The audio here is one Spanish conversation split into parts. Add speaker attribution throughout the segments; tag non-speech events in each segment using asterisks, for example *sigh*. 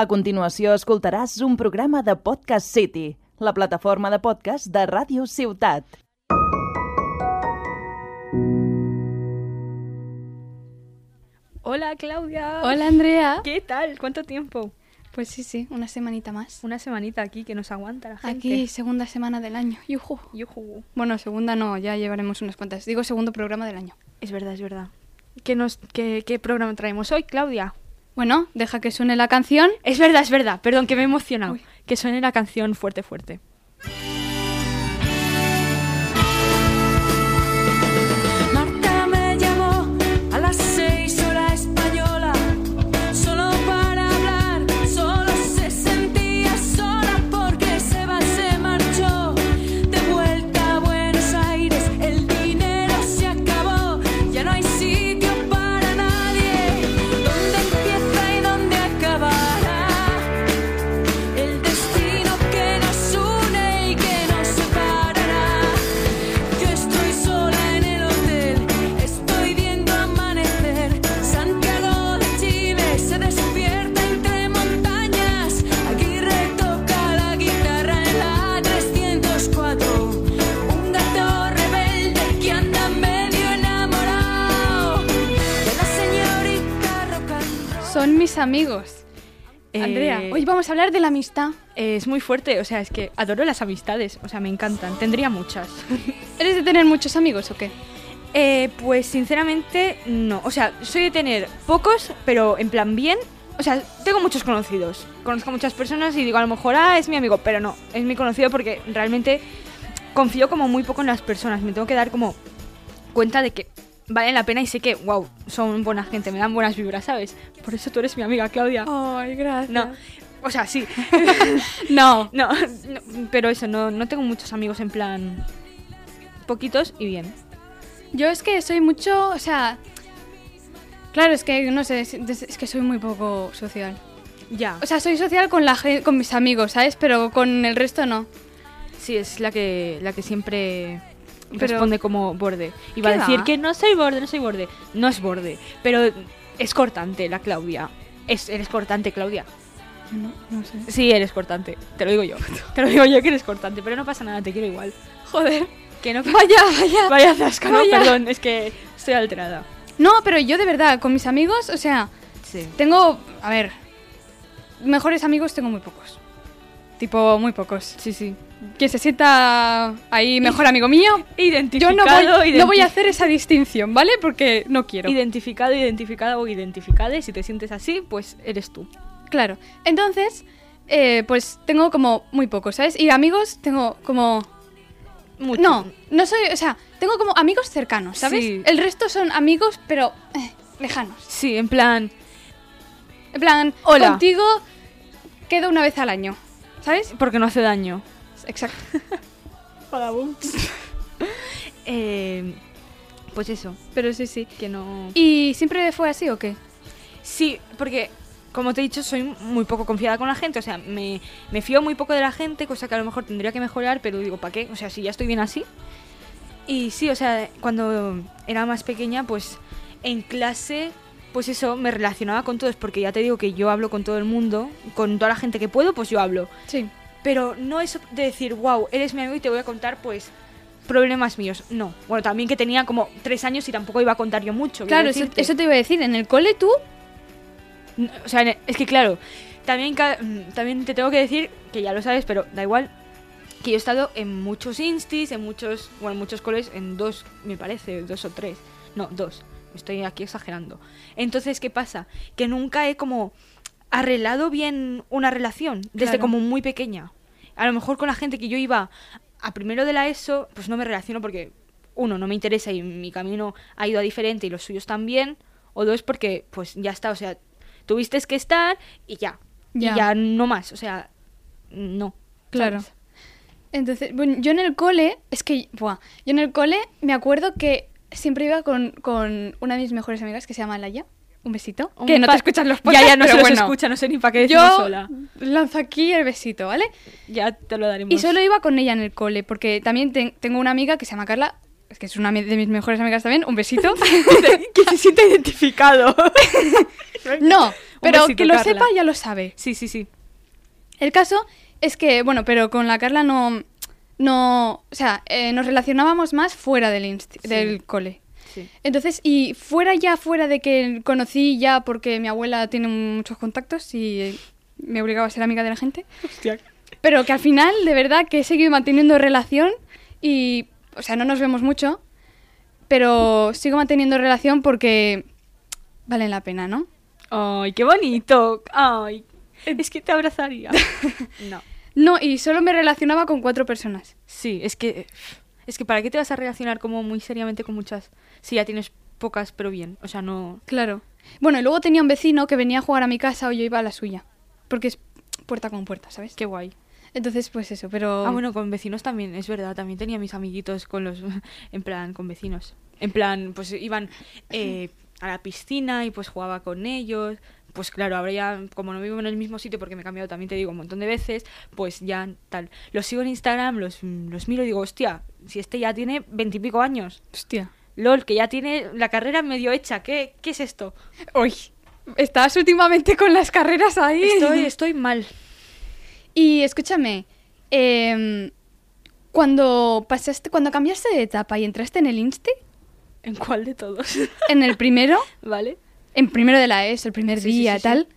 Speaker 1: A continuació escoltaràs un programa de Podcast City, la plataforma de podcast de Ràdio Ciutat.
Speaker 2: Hola Claudia.
Speaker 3: Hola Andrea.
Speaker 2: ¿Qué tal? ¿Cuánto tiempo?
Speaker 3: Pues sí, sí, una semanita más.
Speaker 2: Una semanita aquí que nos aguanta la gente.
Speaker 3: Aquí, segunda semana del año. Yujú.
Speaker 2: Yujú.
Speaker 3: Bueno, segunda no, ya llevaremos unas cuantas. Digo segundo programa del año.
Speaker 2: Es verdad, es verdad. ¿Qué, nos, qué, qué programa traemos hoy, Claudia?
Speaker 3: Bueno, deja que suene la canción.
Speaker 2: Es verdad, es verdad. Perdón, que me he emocionado.
Speaker 3: Uy.
Speaker 2: Que suene la canción fuerte, fuerte.
Speaker 4: Marta me llamó a las seis hora española, solo para hablar, solo se sentía sola porque Seba se marchó. De vuelta a Buenos Aires, el dinero se acabó, ya no hay sitio para nadie. ¿Dónde empieza y dónde acabará? El destino que nos une y que nos separará. Yo estoy sola en el hotel, estoy viendo amanecer. Santiago de Chile se despierta entre montañas. Aquí retoca la guitarra en la 304. Un gato rebelde que anda medio enamorado de la señorita Roca.
Speaker 3: Son mis amigos. Andrea,
Speaker 2: Eh,
Speaker 3: hoy vamos a hablar de la amistad.
Speaker 2: eh, es muy fuerte. O sea, es que adoro las amistades. O sea, me encantan. Tendría muchas.
Speaker 3: ¿Eres de tener muchos amigos o qué?
Speaker 2: Eh, pues sinceramente, no. O sea, soy de tener pocos, pero en plan bien. O sea, tengo muchos conocidos. Conozco a muchas personas y digo, a lo mejor, ah, es mi amigo, pero no, es mi conocido porque realmente confío como muy poco en las personas. Me tengo que dar como cuenta de que valen la pena y sé que, wow, son buena gente, me dan buenas vibras, ¿sabes? Por eso tú eres mi amiga, Claudia.
Speaker 3: Ay, Oh, gracias.
Speaker 2: no, o sea, sí.
Speaker 3: No.
Speaker 2: no, no, pero eso, no, no tengo muchos amigos en plan poquitos y bien.
Speaker 3: Yo es que soy mucho, o sea... Claro, es que no sé, es, es que soy muy poco social.
Speaker 2: Ya.
Speaker 3: O sea, soy social con la gen- con mis amigos, ¿sabes? Pero con el resto no.
Speaker 2: Sí, es la que, la que siempre
Speaker 3: Pero-
Speaker 2: responde como borde. Y va a
Speaker 3: ¿Qué
Speaker 2: decir
Speaker 3: va?
Speaker 2: que no soy borde, no soy borde. No es borde, pero es cortante la Claudia. Es, eres cortante, Claudia.
Speaker 3: No, no sé.
Speaker 2: Sí, eres cortante. Te lo digo
Speaker 3: *laughs*
Speaker 2: yo. Te lo digo yo que eres cortante, pero no pasa nada, te quiero igual.
Speaker 3: Joder.
Speaker 2: Que no
Speaker 3: Vaya,
Speaker 2: *laughs*
Speaker 3: vaya.
Speaker 2: Vaya zasca, no,
Speaker 3: Vaya.
Speaker 2: perdón, es que estoy alterada.
Speaker 3: No, pero yo de verdad, con mis amigos, o sea,
Speaker 2: Sí.
Speaker 3: tengo, a ver, mejores amigos tengo muy pocos. Tipo, muy pocos.
Speaker 2: Sí, sí.
Speaker 3: Que se sienta ahí mejor amigo mío. Yo
Speaker 2: Identificado,
Speaker 3: no voy, no
Speaker 2: identi-
Speaker 3: voy a hacer esa distinción, ¿vale? Porque no quiero.
Speaker 2: identificado, identificada o identificada. Y si te sientes así, pues eres tú.
Speaker 3: Claro. Entonces, eh, pues tengo como muy pocos, ¿sabes? Y amigos tengo como...
Speaker 2: Mucho.
Speaker 3: No, no soy, o sea, tengo como amigos cercanos, ¿sabes?
Speaker 2: Sí.
Speaker 3: El resto son amigos, pero eh, lejanos.
Speaker 2: Sí, en plan,
Speaker 3: En plan,
Speaker 2: Hola.
Speaker 3: contigo quedo una vez al año, ¿sabes?
Speaker 2: porque no hace daño.
Speaker 3: Exacto.
Speaker 2: Eh, pues eso,
Speaker 3: Pero sí, sí.
Speaker 2: que no...
Speaker 3: *laughs* ¿Y siempre fue así o qué?
Speaker 2: Sí, porque como te he dicho, soy muy poco confiada con la gente, o sea, me, me fío muy poco de la gente, cosa que a lo mejor tendría que mejorar, pero digo, ¿para qué? O sea, si ya estoy bien así. Y sí, o sea, cuando era más pequeña, pues en clase, pues eso, me relacionaba con todos, porque ya te digo que yo hablo con todo el mundo, con toda la gente que puedo, pues yo hablo.
Speaker 3: Sí.
Speaker 2: Pero no eso de decir, wow, eres mi amigo y te voy a contar, pues, problemas míos. No. Bueno, también que tenía como tres años y tampoco iba a contar yo mucho. quiero
Speaker 3: Claro, eso,
Speaker 2: decirte.
Speaker 3: eso te iba a decir. En el cole tú.
Speaker 2: No, O sea, ne- es que claro, también, ca- mm, también te tengo que decir, que ya lo sabes, pero da igual, que yo he estado en muchos instis, en muchos, bueno, en muchos coles, en dos, me parece, dos o tres. No, dos. Estoy aquí exagerando. Entonces, ¿qué pasa? Que nunca he como arreglado bien una relación, desde
Speaker 3: Claro.
Speaker 2: como muy pequeña. A lo mejor con la gente que yo iba a primero de la ESO, pues no me relaciono porque, uno, no me interesa y mi camino ha ido a diferente y los suyos también, o dos, porque pues ya está, o sea, tuviste que estar y ya.
Speaker 3: Ya.
Speaker 2: Y ya no más, o sea, no.
Speaker 3: Claro.
Speaker 2: ¿sabes?
Speaker 3: Entonces, bueno, yo en el cole. Es que. Buah. Yo en el cole me acuerdo que siempre iba con, con una de mis mejores amigas que se llama Laia. Un besito.
Speaker 2: Un
Speaker 3: que no te
Speaker 2: pa-
Speaker 3: escuchan los
Speaker 2: Ya,
Speaker 3: podcasts.
Speaker 2: ya no se
Speaker 3: pero
Speaker 2: los
Speaker 3: bueno.
Speaker 2: escucha, no sé ni para qué decirlo
Speaker 3: Yo
Speaker 2: sola.
Speaker 3: lanzo aquí el besito, ¿vale?
Speaker 2: Ya te lo daremos. *laughs*
Speaker 3: Y solo iba con ella en el cole, porque también ten- tengo una amiga que se llama Carla, es que es una de
Speaker 2: *laughs*
Speaker 3: mis mejores amigas también, un besito.
Speaker 2: que se sienta identificado.
Speaker 3: *laughs* no, Pero
Speaker 2: besito,
Speaker 3: que lo
Speaker 2: Carla.
Speaker 3: sepa ya lo sabe.
Speaker 2: Sí, sí, sí.
Speaker 3: El caso es que, bueno, pero con la Carla no. no o sea, eh, nos relacionábamos más fuera del, inst-
Speaker 2: Sí.
Speaker 3: del cole.
Speaker 2: sí.
Speaker 3: Entonces, y fuera ya, fuera de que conocí ya, porque mi abuela tiene muchos contactos y eh, me obligaba a ser amiga de la gente. Pero que al final, de verdad, que he seguido manteniendo relación y, o sea, no nos vemos mucho, pero sigo manteniendo relación porque valen la pena, ¿no?
Speaker 2: Ay, qué bonito. Ay, es que te abrazaría. no.
Speaker 3: Eh. *laughs* No, y solo me relacionaba con cuatro personas.
Speaker 2: Sí, es que es que para qué te vas a relacionar como muy seriamente con muchas si ya tienes pocas pero bien, o sea, no
Speaker 3: Claro. Bueno, y luego tenía un vecino que venía a jugar a mi casa o yo iba a la suya, porque es puerta con puerta, ¿sabes?
Speaker 2: qué guay.
Speaker 3: Entonces, pues eso, pero...
Speaker 2: Ah, bueno, con vecinos también, es verdad, también tenía mis amiguitos con los *laughs* en plan con vecinos. En plan, pues iban eh, a la piscina y pues jugaba con ellos. Pues claro, ahora ya, como no vivo en el mismo sitio porque me he cambiado también, te digo, un montón de veces, pues ya tal. Los sigo en Instagram, los, los miro y digo, hostia, si este ya tiene veintipico años.
Speaker 3: Hostia.
Speaker 2: LOL, que ya tiene la carrera medio hecha. ¿Qué, qué es esto?
Speaker 3: Uy, estás últimamente con las carreras ahí.
Speaker 2: Estoy, estoy mal.
Speaker 3: Y escúchame, em, cuando pasaste, cuando cambiaste de etapa y entraste en el Insti,
Speaker 2: ¿En cuál de todos? *laughs*
Speaker 3: en el primero,
Speaker 2: ¿Vale?
Speaker 3: en primero de la ESO, el primer
Speaker 2: Sí, sí,
Speaker 3: día,
Speaker 2: sí, sí.
Speaker 3: tal,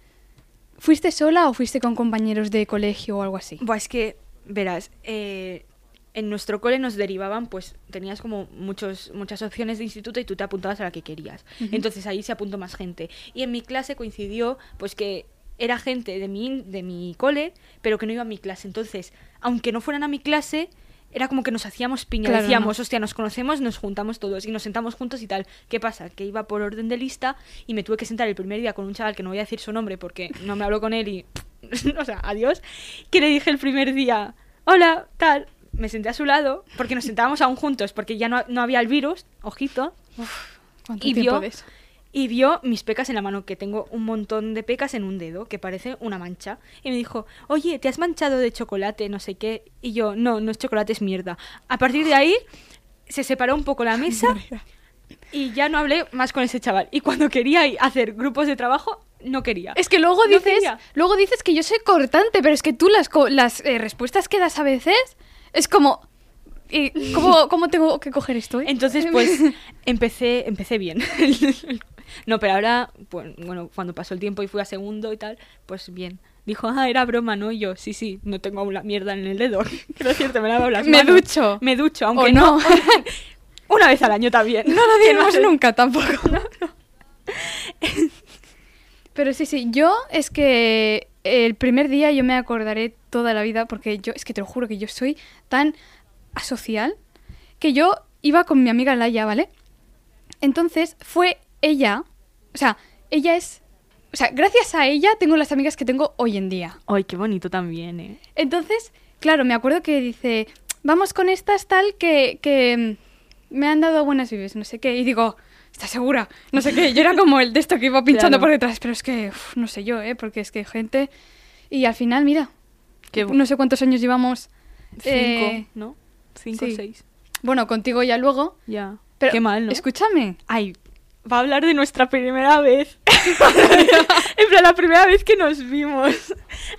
Speaker 3: ¿fuiste sola o fuiste con compañeros de colegio o algo así?
Speaker 2: Buah, es que, verás, eh, en nuestro cole nos derivaban, pues tenías como muchos, muchas opciones de instituto y tú te apuntabas a la que querías. Entonces ahí se apuntó más gente. Y en mi clase coincidió, pues que era gente de mi, in- de mi cole, pero que no iba a mi clase. Entonces, aunque no fueran a mi clase, era como que nos hacíamos piña.
Speaker 3: Claro,
Speaker 2: decíamos,
Speaker 3: no.
Speaker 2: hostia, nos conocemos, nos juntamos todos y nos sentamos juntos y tal. ¿Qué pasa? Que iba por orden de lista y me tuve que sentar el primer día con un chaval que no voy a decir su nombre porque no me habló con él y. *laughs* o sea, adiós. Que le dije el primer día, hola, tal. Me senté a su lado porque nos sentábamos aún juntos porque ya no, no había el virus, ojito.
Speaker 3: ¿Cuánto
Speaker 2: y
Speaker 3: tiempo
Speaker 2: vio-
Speaker 3: de eso?
Speaker 2: Y vio mis pecas en la mano, que tengo un montón de pecas en un dedo, que parece una mancha. Y me dijo, oye, ¿te has manchado de chocolate? No sé qué. Y yo, no, no es chocolate, es mierda. A partir de ahí se separó un poco la mesa y ya no hablé más con ese chaval. Y cuando quería i- hacer grupos de trabajo, no quería.
Speaker 3: Es que luego
Speaker 2: No
Speaker 3: dices,
Speaker 2: quería.
Speaker 3: luego dices que yo soy cortante, pero es que tú las, co- las eh, respuestas que das a veces es como, eh, ¿cómo, ¿cómo tengo que coger esto? eh? *laughs*
Speaker 2: Entonces, pues, empecé, empecé bien. *laughs* no, pero ahora, pues, bueno, cuando pasó el tiempo y fui a segundo y tal, pues bien. Dijo, ah, era broma, ¿no? Y yo, sí, sí, no tengo una mierda en el dedo. *laughs* Quiero decirte, me lavo las
Speaker 3: Me
Speaker 2: manos.
Speaker 3: ducho.
Speaker 2: Me ducho,
Speaker 3: O
Speaker 2: aunque
Speaker 3: no.
Speaker 2: no. *laughs* una vez al año también.
Speaker 3: *laughs* No lo
Speaker 2: *laughs* Que
Speaker 3: diremos
Speaker 2: hace-
Speaker 3: nunca tampoco. *laughs* Pero sí, sí, yo es que el primer día yo me acordaré toda la vida porque yo, es que te lo juro que yo soy tan asocial que yo iba con mi amiga Laia, ¿vale? Entonces fue ella, o sea, ella es, o sea, gracias a ella tengo las amigas que tengo hoy en día.
Speaker 2: Ay, qué bonito también, ¿eh?
Speaker 3: Entonces, claro, me acuerdo que dice, vamos con estas tal que, que mm, me han dado buenas vibes, no sé qué. Y digo, ¿estás segura? No sé qué. Yo era como el de esto que iba pinchando
Speaker 2: Claro.
Speaker 3: por detrás, pero es que uf, no sé yo, ¿eh? Porque es que gente... Y al final, mira,
Speaker 2: Qué
Speaker 3: no sé cuántos años llevamos.
Speaker 2: Cinco,
Speaker 3: eh,
Speaker 2: ¿no? Cinco,
Speaker 3: sí.
Speaker 2: seis.
Speaker 3: Bueno, contigo ya luego.
Speaker 2: Ya.
Speaker 3: Pero,
Speaker 2: qué mal, ¿no?
Speaker 3: Escúchame.
Speaker 2: Ay, va a hablar de nuestra primera vez. *laughs* en plan, la primera vez que nos vimos.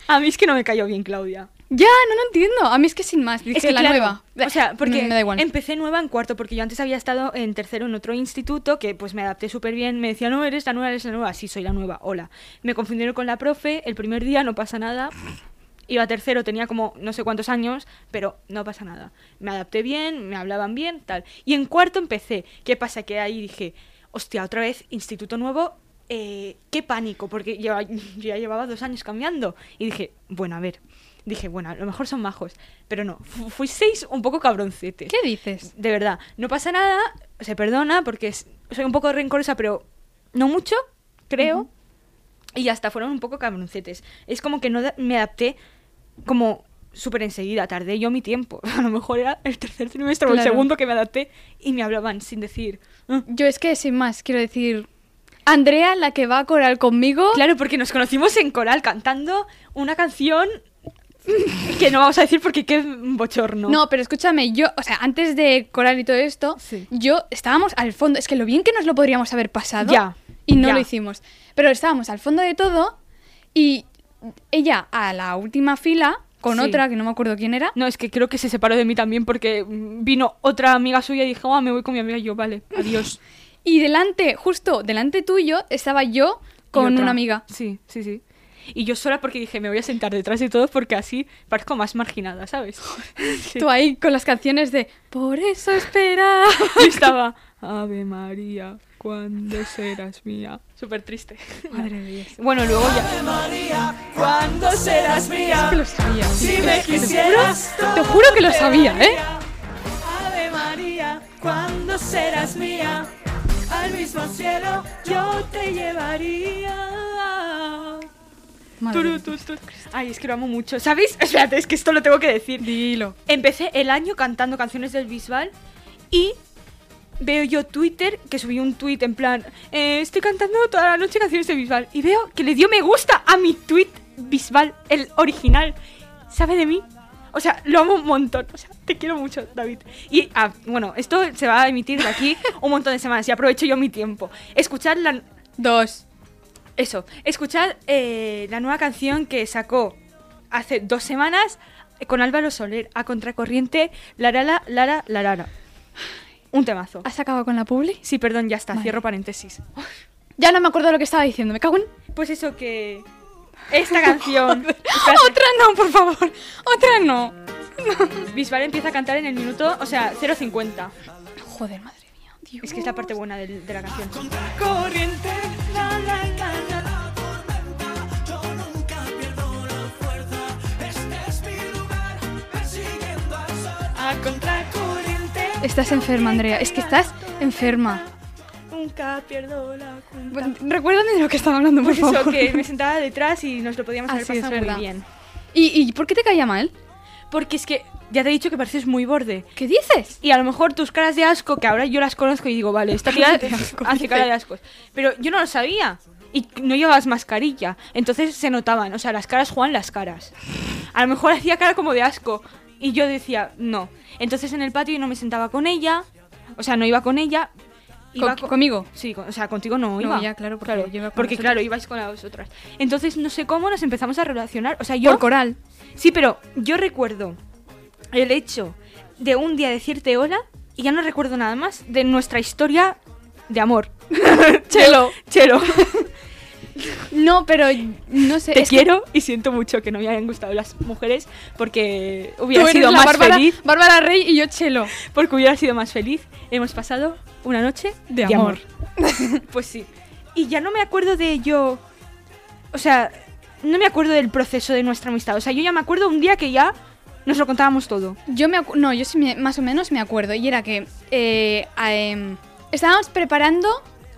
Speaker 2: A mí es que no me cayó bien Claudia.
Speaker 3: Ya, no lo entiendo. A mí es que sin más. Dije
Speaker 2: es que
Speaker 3: la
Speaker 2: claro,
Speaker 3: nueva. Mm,
Speaker 2: O sea, porque
Speaker 3: Me, me da igual.
Speaker 2: empecé nueva en cuarto, porque yo antes había estado en tercero en otro instituto, que pues me adapté súper bien. Me decía, no, eres la nueva, eres la nueva. Sí, soy la nueva, hola. Me confundieron con la profe, el primer día no pasa nada. Iba a tercero, tenía como no sé cuántos años, pero no pasa nada. Me adapté bien, me hablaban bien, tal. Y en cuarto empecé. ¿Qué pasa? Que ahí dije, hostia, otra vez, instituto nuevo, eh, qué pánico, porque yo, *laughs* yo ya llevaba dos años cambiando. Y dije, bueno, a ver. Dije, bueno, a lo mejor son majos. Pero no, fu- fuisteis un poco cabroncetes.
Speaker 3: ¿Qué dices?
Speaker 2: De verdad, no pasa nada, se perdona porque es- soy un poco rencorosa, pero no mucho, creo. Y hasta fueron un poco cabroncetes. Es como que no da- me adapté como súper enseguida, tardé yo mi tiempo. *laughs* A lo mejor era el tercer trimestre o el
Speaker 3: Claro.
Speaker 2: segundo que me adapté y me hablaban sin decir. "Ah".
Speaker 3: Yo es que sin más, quiero decir... Andrea, la que va a coral conmigo...
Speaker 2: Claro, porque nos conocimos en coral cantando una canción que no vamos a decir porque qué bochorno.
Speaker 3: No, pero escúchame, yo, o sea, antes de coral y todo esto,
Speaker 2: Sí.
Speaker 3: yo estábamos al fondo. Es que lo bien que nos lo podríamos haber pasado.
Speaker 2: Ya.
Speaker 3: y no
Speaker 2: Ya.
Speaker 3: lo hicimos. Pero estábamos al fondo de todo y ella a la última fila con
Speaker 2: Sí.
Speaker 3: otra que no me acuerdo quién era.
Speaker 2: No, es que creo que se separó de mí también porque mm, vino otra amiga suya y dijo, ah, me voy con mi amiga. Y yo,
Speaker 3: *laughs*
Speaker 2: vale, adiós.
Speaker 3: Y delante, justo delante tuyo, estaba yo
Speaker 2: Y
Speaker 3: con
Speaker 2: otra.
Speaker 3: una amiga.
Speaker 2: Sí, sí, sí. Y yo sola porque dije, me voy a sentar detrás de todos porque así parezco más marginada,
Speaker 3: *laughs*
Speaker 2: ¿sabes? Sí.
Speaker 3: Tú ahí con las canciones de Por eso espera.
Speaker 2: *laughs* Yo estaba, Ave María, ¿cuándo serás mía? Súper triste.
Speaker 3: Madre de Dios.
Speaker 2: Bueno, luego ya...
Speaker 4: ¿Cuándo serás
Speaker 3: Es que
Speaker 4: mía?
Speaker 3: lo sabía.
Speaker 4: Si me quisieras,
Speaker 3: Te juro que lo sabía, ¿eh?
Speaker 4: Ave María, ¿cuándo serás mía? Al mismo cielo yo te llevaría.
Speaker 3: *laughs* Madre
Speaker 2: Turu, tu, tu. Ay, es que lo amo mucho. ¿Sabéis? *laughs* Espérate, es que esto lo tengo que decir.
Speaker 3: Dilo.
Speaker 2: Empecé el año cantando canciones del Bisbal y veo yo Twitter que subí un tweet en plan eh, estoy cantando toda la noche canciones del Bisbal y veo que le dio me gusta a mi tweet Bisbal, el original. ¿Sabe de mí? O sea, lo amo un montón. O sea, te quiero mucho, David. Y ah, bueno, esto se va a emitir de aquí un montón de semanas y aprovecho yo mi tiempo. Escuchad la,
Speaker 3: Dos.
Speaker 2: eso, escuchad eh, la nueva canción que sacó hace dos semanas eh, con Álvaro Soler, a contracorriente, Larala, Lara, Larara. Un temazo.
Speaker 3: ¿Has acabado con la publi?
Speaker 2: Sí, perdón, ya está,
Speaker 3: Vale.
Speaker 2: cierro paréntesis.
Speaker 3: Ya no me acuerdo lo que estaba diciendo. Me cago en.
Speaker 2: Pues eso que... Esta canción...
Speaker 3: *laughs* Otra no, por favor. Otra no.
Speaker 2: Bisbal empieza a cantar en el minuto, o sea, 0.50.
Speaker 3: Joder, madre mía. Dios.
Speaker 2: Es que es la parte buena del- de, la canción.
Speaker 4: Corriente, la, la, la, la, la. A contracorriente
Speaker 3: Estás enferma, Andrea. Es que estás enferma.
Speaker 2: Nunca pierdo la cuenta.
Speaker 3: Bueno, Recuérdame de lo que estaba hablando, por
Speaker 2: Pues eso,
Speaker 3: favor.
Speaker 2: que me sentaba detrás y nos lo podíamos haber
Speaker 3: Así es
Speaker 2: pasado muy
Speaker 3: verdad.
Speaker 2: bien.
Speaker 3: ¿Y, ¿Y por qué te caía mal?
Speaker 2: Porque es que, ya te he dicho que pareces muy borde.
Speaker 3: ¿Qué dices?
Speaker 2: Y a lo mejor tus caras de asco, que ahora yo las conozco y digo, vale,
Speaker 3: *laughs*
Speaker 2: esta tía
Speaker 3: de asco,
Speaker 2: *laughs* hace
Speaker 3: dice.
Speaker 2: cara de asco. Pero yo no lo sabía. Y no llevabas mascarilla. Entonces se notaban. O sea, las caras juegan las caras. A lo mejor hacía cara como de asco. Y yo decía, no. Entonces en el patio yo no me sentaba con ella. O sea, no iba con ella. Iba
Speaker 3: Con-
Speaker 2: co-
Speaker 3: ¿Conmigo?
Speaker 2: Sí, con- o sea, contigo no
Speaker 3: No,
Speaker 2: iba.
Speaker 3: ya, claro, porque yo iba con
Speaker 2: Porque,
Speaker 3: las
Speaker 2: claro,
Speaker 3: otras.
Speaker 2: ibais con las otras. Entonces, no sé cómo nos empezamos a relacionar. O sea, yo...
Speaker 3: Por coral.
Speaker 2: Sí, pero yo recuerdo el hecho de un día decirte hola y ya no recuerdo nada más de nuestra historia de amor.
Speaker 3: Chelo.
Speaker 2: Chelo,
Speaker 3: No, pero no sé.
Speaker 2: te
Speaker 3: *laughs* es que
Speaker 2: quiero y siento mucho que no me hayan gustado las mujeres porque
Speaker 3: tú
Speaker 2: hubiera
Speaker 3: eres
Speaker 2: sido
Speaker 3: la
Speaker 2: más
Speaker 3: Bárbara,
Speaker 2: feliz.
Speaker 3: Bárbara Rey y yo Chelo.
Speaker 2: Porque hubiera sido más feliz. Hemos pasado una noche
Speaker 3: De
Speaker 2: de,
Speaker 3: amor.
Speaker 2: amor. *laughs* pues sí. Y ya no me acuerdo de yo. O sea, no me acuerdo del proceso de nuestra amistad. O sea, yo ya me acuerdo un día que ya nos lo contábamos todo.
Speaker 3: Yo me acu- no, yo sí me- más o menos me acuerdo y era que eh, a- em, estábamos preparando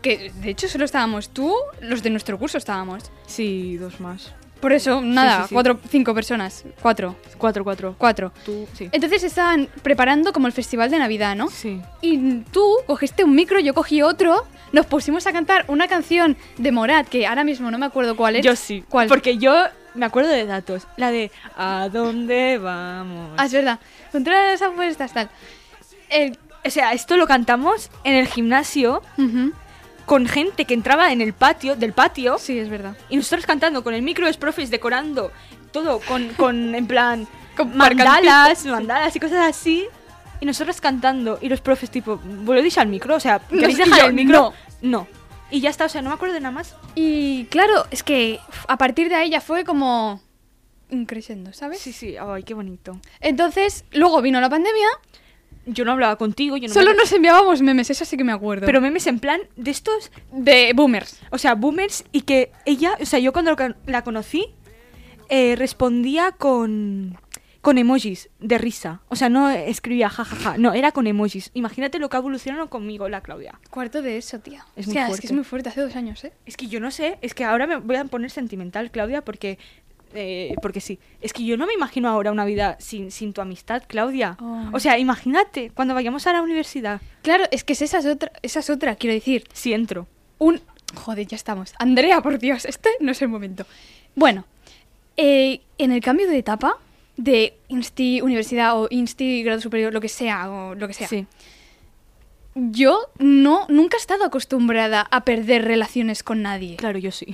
Speaker 3: que de hecho solo estábamos tú, los de nuestro curso estábamos.
Speaker 2: Sí, dos más.
Speaker 3: Por eso nada,
Speaker 2: sí, sí.
Speaker 3: cuatro, cinco personas, cuatro,
Speaker 2: Cuatro, cuatro.
Speaker 3: cuatro.
Speaker 2: Tú, sí.
Speaker 3: Entonces estaban preparando como el festival de Navidad, ¿no?
Speaker 2: Sí.
Speaker 3: Y tú cogiste un micro, yo cogí otro, nos pusimos a cantar una canción de Morat que ahora mismo no me acuerdo cuál es.
Speaker 2: Yo sí.
Speaker 3: ¿Cuál?
Speaker 2: Porque yo me acuerdo de datos. La de ¿A dónde vamos?
Speaker 3: Ah, es verdad. Contra las apuestas tal.
Speaker 2: El- o sea, esto lo cantamos en el gimnasio
Speaker 3: Ujú.
Speaker 2: con gente que entraba en el patio, del patio,
Speaker 3: Sí, es verdad.
Speaker 2: y nosotros cantando con el micro, los profes decorando todo con, *laughs* con en plan,
Speaker 3: Con
Speaker 2: mandalas, mandalas y cosas así. Y nosotros cantando, y los profes tipo, ¿volvéis al micro? O sea, ¿queréis
Speaker 3: y
Speaker 2: dejar
Speaker 3: yo,
Speaker 2: el micro? No. Y ya está, o sea, no me acuerdo de nada más.
Speaker 3: Y claro, es que uf, a partir de ahí ya fue como un creciendo, ¿sabes?
Speaker 2: Sí, sí, ay, qué bonito.
Speaker 3: Entonces, luego vino la pandemia,
Speaker 2: Yo no hablaba contigo, yo no
Speaker 3: solo
Speaker 2: me-
Speaker 3: nos enviábamos memes, eso sí que me acuerdo.
Speaker 2: Pero memes en plan de estos,
Speaker 3: de boomers.
Speaker 2: o sea, boomers, y que ella, o sea, yo cuando la- la conocí, eh, respondía con, con emojis de risa. O sea, no escribía jajaja, no, era con emojis. Imagínate lo que ha evolucionado conmigo la Claudia.
Speaker 3: Cuarto de eso, tía.
Speaker 2: Es
Speaker 3: o
Speaker 2: muy
Speaker 3: sea, es que es
Speaker 2: fuerte.
Speaker 3: muy fuerte, hace dos años, ¿eh?
Speaker 2: Es que yo no sé, es que ahora me voy a poner sentimental, Claudia, porque, eh, porque sí. Es que yo no me imagino ahora una vida sin, sin tu amistad, Claudia.
Speaker 3: Oh.
Speaker 2: O sea, imagínate, cuando vayamos a la universidad,
Speaker 3: Claro, es que es esa es otra, esa es otra, quiero decir.
Speaker 2: si entro.
Speaker 3: Un... Joder, ya estamos. Andrea, por Dios, este no es el momento. Bueno, eh, en el cambio de etapa de insti universidad o insti grado superior, lo que sea, o lo que sea.
Speaker 2: Sí.
Speaker 3: yo no, nunca he estado acostumbrada a perder relaciones con nadie.
Speaker 2: Claro, yo sí.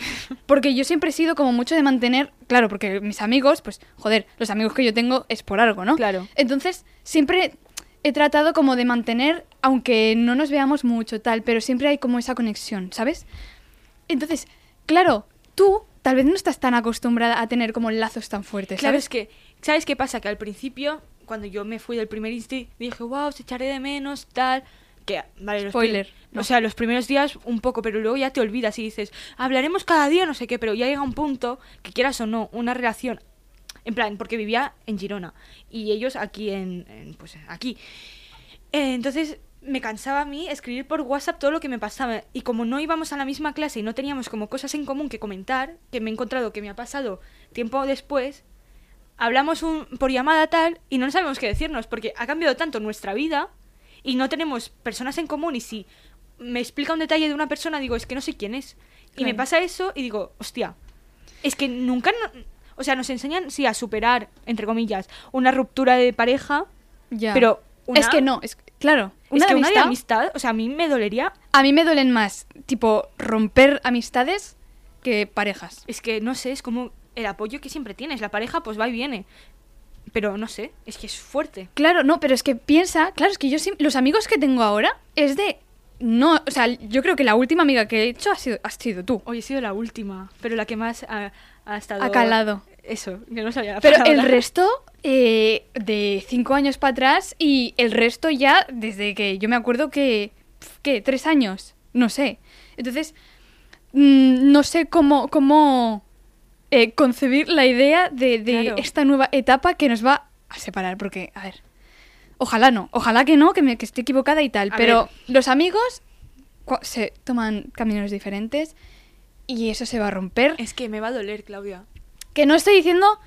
Speaker 3: Porque yo siempre he sido como mucho de mantener, claro, porque mis amigos, pues, joder, los amigos que yo tengo es por algo, ¿no?
Speaker 2: Claro.
Speaker 3: Entonces, siempre he tratado como de mantener, aunque no nos veamos mucho, tal, pero siempre hay como esa conexión, ¿sabes? Entonces, claro, tú tal vez no estás tan acostumbrada a tener como lazos tan fuertes,
Speaker 2: Claro,
Speaker 3: ¿sabes?
Speaker 2: es que, ¿sabes qué pasa? Que al principio, cuando yo me fui del primer insti, dije, wow, se echaré de menos, tal. Que, vale, los
Speaker 3: Spoiler,
Speaker 2: prim-
Speaker 3: no.
Speaker 2: O sea, los primeros días un poco, pero luego ya te olvidas y dices, hablaremos cada día, no sé qué, pero ya llega un punto que quieras o no, una relación. En plan, porque vivía en Girona y ellos aquí en. en- pues aquí. Eh, entonces me cansaba a mí escribir por WhatsApp todo lo que me pasaba. Y como no íbamos a la misma clase y no teníamos como cosas en común que comentar, que me he encontrado que me ha pasado tiempo después, hablamos un, por llamada tal y no sabemos qué decirnos porque ha cambiado tanto nuestra vida y no tenemos personas en común y si me explica un detalle de una persona digo es que no sé quién es y me
Speaker 3: Claro.
Speaker 2: pasa eso y digo hostia es que nunca no- o sea nos enseñan sí a superar entre comillas una ruptura de pareja
Speaker 3: Ya.
Speaker 2: pero una-
Speaker 3: Es que no, es claro.
Speaker 2: es
Speaker 3: Una
Speaker 2: que una de
Speaker 3: amistad,
Speaker 2: amistad o sea a mí me dolería
Speaker 3: a mí me duelen más, tipo, romper amistades que parejas.
Speaker 2: es que no sé es como el apoyo que siempre tienes la pareja pues va y viene pero no sé es que es fuerte
Speaker 3: Claro, no, pero es que piensa, claro, es que yo sim- los amigos que tengo ahora es de no, o sea, yo creo que la última amiga que he hecho ha sido, has sido tú.
Speaker 2: Hoy he sido la última, pero la que más ha, ha estado...
Speaker 3: Ha calado.
Speaker 2: Eso, yo no sabía la
Speaker 3: Pero el
Speaker 2: palabra.
Speaker 3: resto eh, de cinco años para atrás y el resto ya desde que yo me acuerdo que pf, qué tres años, no sé. Entonces mm, no sé cómo cómo eh, concebir la idea de, de
Speaker 2: Claro.
Speaker 3: esta nueva etapa que nos va a separar, porque a ver, ojalá no, ojalá que no, que me que esté equivocada y tal,
Speaker 2: A
Speaker 3: pero
Speaker 2: ver.
Speaker 3: los amigos cua- se toman caminos diferentes y eso se va a romper.
Speaker 2: *laughs* Es que me va a doler, Claudia.
Speaker 3: Que no estoy diciendo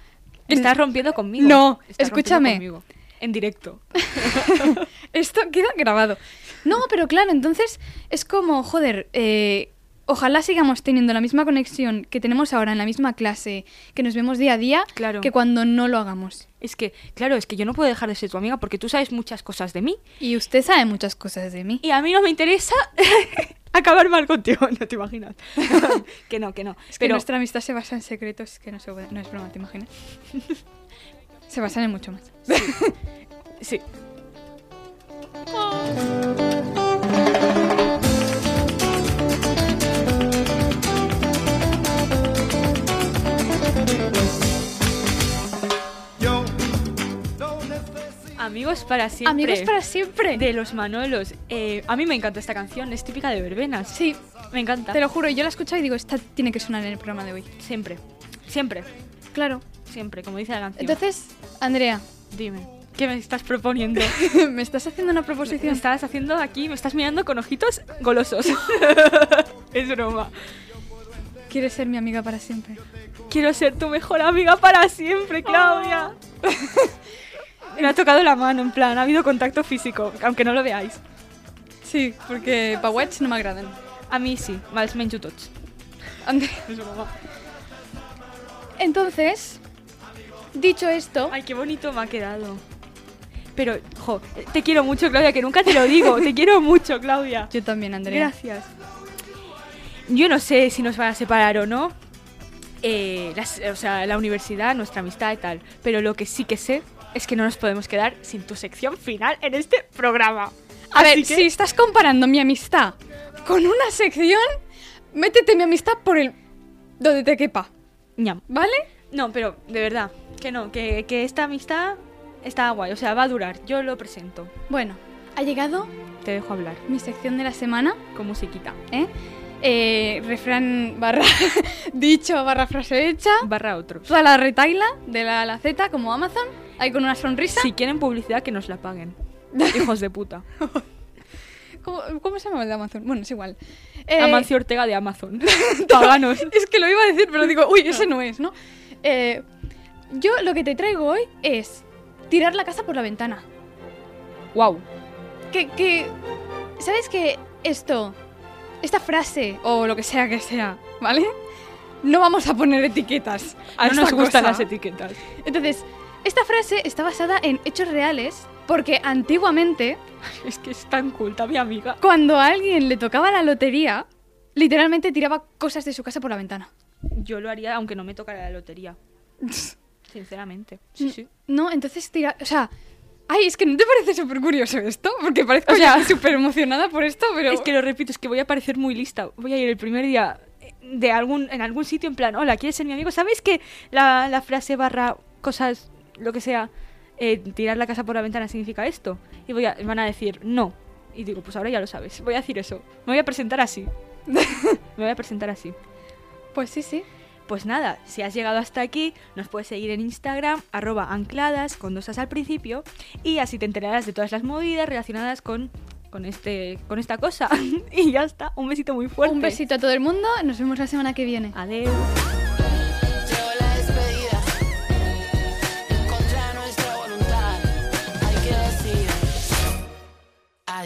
Speaker 2: Estás rompiendo conmigo.
Speaker 3: No,
Speaker 2: Estás
Speaker 3: escúchame.
Speaker 2: rompiendo conmigo. En directo. *laughs*
Speaker 3: *laughs* Esto queda grabado. No, pero claro, entonces es como, joder, eh, ojalá sigamos teniendo la misma conexión que tenemos ahora en la misma clase, que nos vemos día a día,
Speaker 2: Claro.
Speaker 3: que cuando no lo hagamos.
Speaker 2: Es que, claro, es que yo no puedo dejar de ser tu amiga porque tú sabes muchas cosas de mí
Speaker 3: Y usted sabe muchas cosas de mí.
Speaker 2: y a mí no me interesa *laughs* acabar mal contigo, *laughs* no te imaginas. que no, que no.
Speaker 3: Es que
Speaker 2: pero
Speaker 3: nuestra amistad se basa en secretos que no, se puede- no es broma, ¿te imaginas? *laughs* se basan en mucho más.
Speaker 2: sí.
Speaker 5: Yo no necesito.
Speaker 2: Amigos para siempre.
Speaker 3: Amigos para siempre.
Speaker 2: De los Manolos. Eh, a mí me encanta esta canción, es típica de verbenas.
Speaker 3: Sí,
Speaker 2: Me encanta.
Speaker 3: te lo juro, yo la escucho y digo, esta tiene que sonar en el programa de hoy.
Speaker 2: Siempre. Siempre.
Speaker 3: Claro.
Speaker 2: Siempre, como dice la canción.
Speaker 3: Entonces, Andrea, *laughs*
Speaker 2: Dime, ¿qué me estás proponiendo?
Speaker 3: me estás haciendo una
Speaker 2: me
Speaker 3: proposición.
Speaker 2: estás haciendo aquí, me estás mirando con ojitos *laughs* golosos. es broma.
Speaker 3: ¿Quieres ser mi amiga para siempre?
Speaker 2: Quiero ser tu mejor amiga para siempre, Claudia. *laughs* me ha tocado la mano, en plan, ha habido contacto físico, aunque no lo veáis.
Speaker 3: Sí, porque Pawatch no me agradan.
Speaker 2: A mí sí, más me tots.
Speaker 3: Ande-
Speaker 2: Es broma.
Speaker 3: Entonces, dicho esto,
Speaker 2: Ay, qué bonito me ha quedado. Pero, jo, te quiero mucho, Claudia, que nunca te lo digo. *laughs* te quiero mucho, Claudia.
Speaker 3: yo también, Andrea.
Speaker 2: Gracias. Yo no sé si nos van a separar o no. eh, las- o sea, la universidad, nuestra amistad y tal. Pero lo que sí que sé es que no nos podemos quedar sin tu sección final en este programa.
Speaker 3: A ver,
Speaker 2: Así que-
Speaker 3: si estás comparando mi amistad con una sección, métete mi amistad por el donde te quepa,
Speaker 2: Ñam.
Speaker 3: ¿vale?
Speaker 2: No, pero de verdad, que no, que, que esta amistad está guay. O sea, va a durar. Yo lo presento.
Speaker 3: Bueno, ha llegado
Speaker 2: Te dejo hablar
Speaker 3: mi sección de la semana,
Speaker 2: con musiquita.
Speaker 3: ¿eh? Eh, refrán barra *laughs* dicho barra frase hecha,
Speaker 2: Barra otros.
Speaker 3: toda la retaila de la, la Z como Amazon, ahí con una sonrisa.
Speaker 2: Si quieren publicidad, que nos la *laughs* paguen. Hijos de puta.
Speaker 3: ¿Cómo, cómo se llama el de Amazon? Bueno, es igual. Eh, *laughs*
Speaker 2: Amancio Ortega de Amazon. *laughs* Paganos.
Speaker 3: Es que lo iba a decir, pero digo, uy, ese no es, ¿no? Eh, yo lo que te traigo hoy es tirar la casa por la ventana.
Speaker 2: wow.
Speaker 3: Que, que- ¿Sabes que esto, esta frase o lo que sea que sea, ¿vale? No vamos a poner etiquetas.
Speaker 2: A no
Speaker 3: esta
Speaker 2: nos gustan
Speaker 3: cosa.
Speaker 2: las etiquetas.
Speaker 3: Entonces, Esta frase está basada en hechos reales porque antiguamente,
Speaker 2: Es que es tan culta mi amiga.
Speaker 3: cuando a alguien le tocaba la lotería, literalmente tiraba cosas de su casa por la ventana.
Speaker 2: Yo lo haría aunque no me tocara la *laughs* lotería. Sinceramente. Mm. Sí, sí.
Speaker 3: No, entonces tira... O sea... Ay, es que no te parece súper curioso esto, porque parezco *laughs* ya súper emocionada por esto, pero...
Speaker 2: Es que lo repito, es que voy a parecer muy lista. Voy a ir el primer día eh, de algún, en algún sitio en plan, hola, ¿quieres ser mi amigo? ¿Sabes que la, la frase barra cosas, lo que sea, eh, tirar la casa por la ventana significa esto? Y voy a, van a decir, no. Y digo, pues ahora ya lo sabes. Voy a decir eso. Me voy a presentar *laughs* así. Me voy a presentar así.
Speaker 3: Pues sí, sí.
Speaker 2: Pues nada, si has llegado hasta aquí, nos puedes seguir en Instagram, arroba ancladas, con dos as al principio, y así te enterarás de todas las movidas relacionadas con, con, este, con esta cosa. *laughs* y ya está, un besito muy fuerte.
Speaker 3: Un besito a todo el mundo, nos vemos la semana que viene.
Speaker 2: Adiós.
Speaker 6: Llegó la despedida, contra nuestra voluntad, hay que decir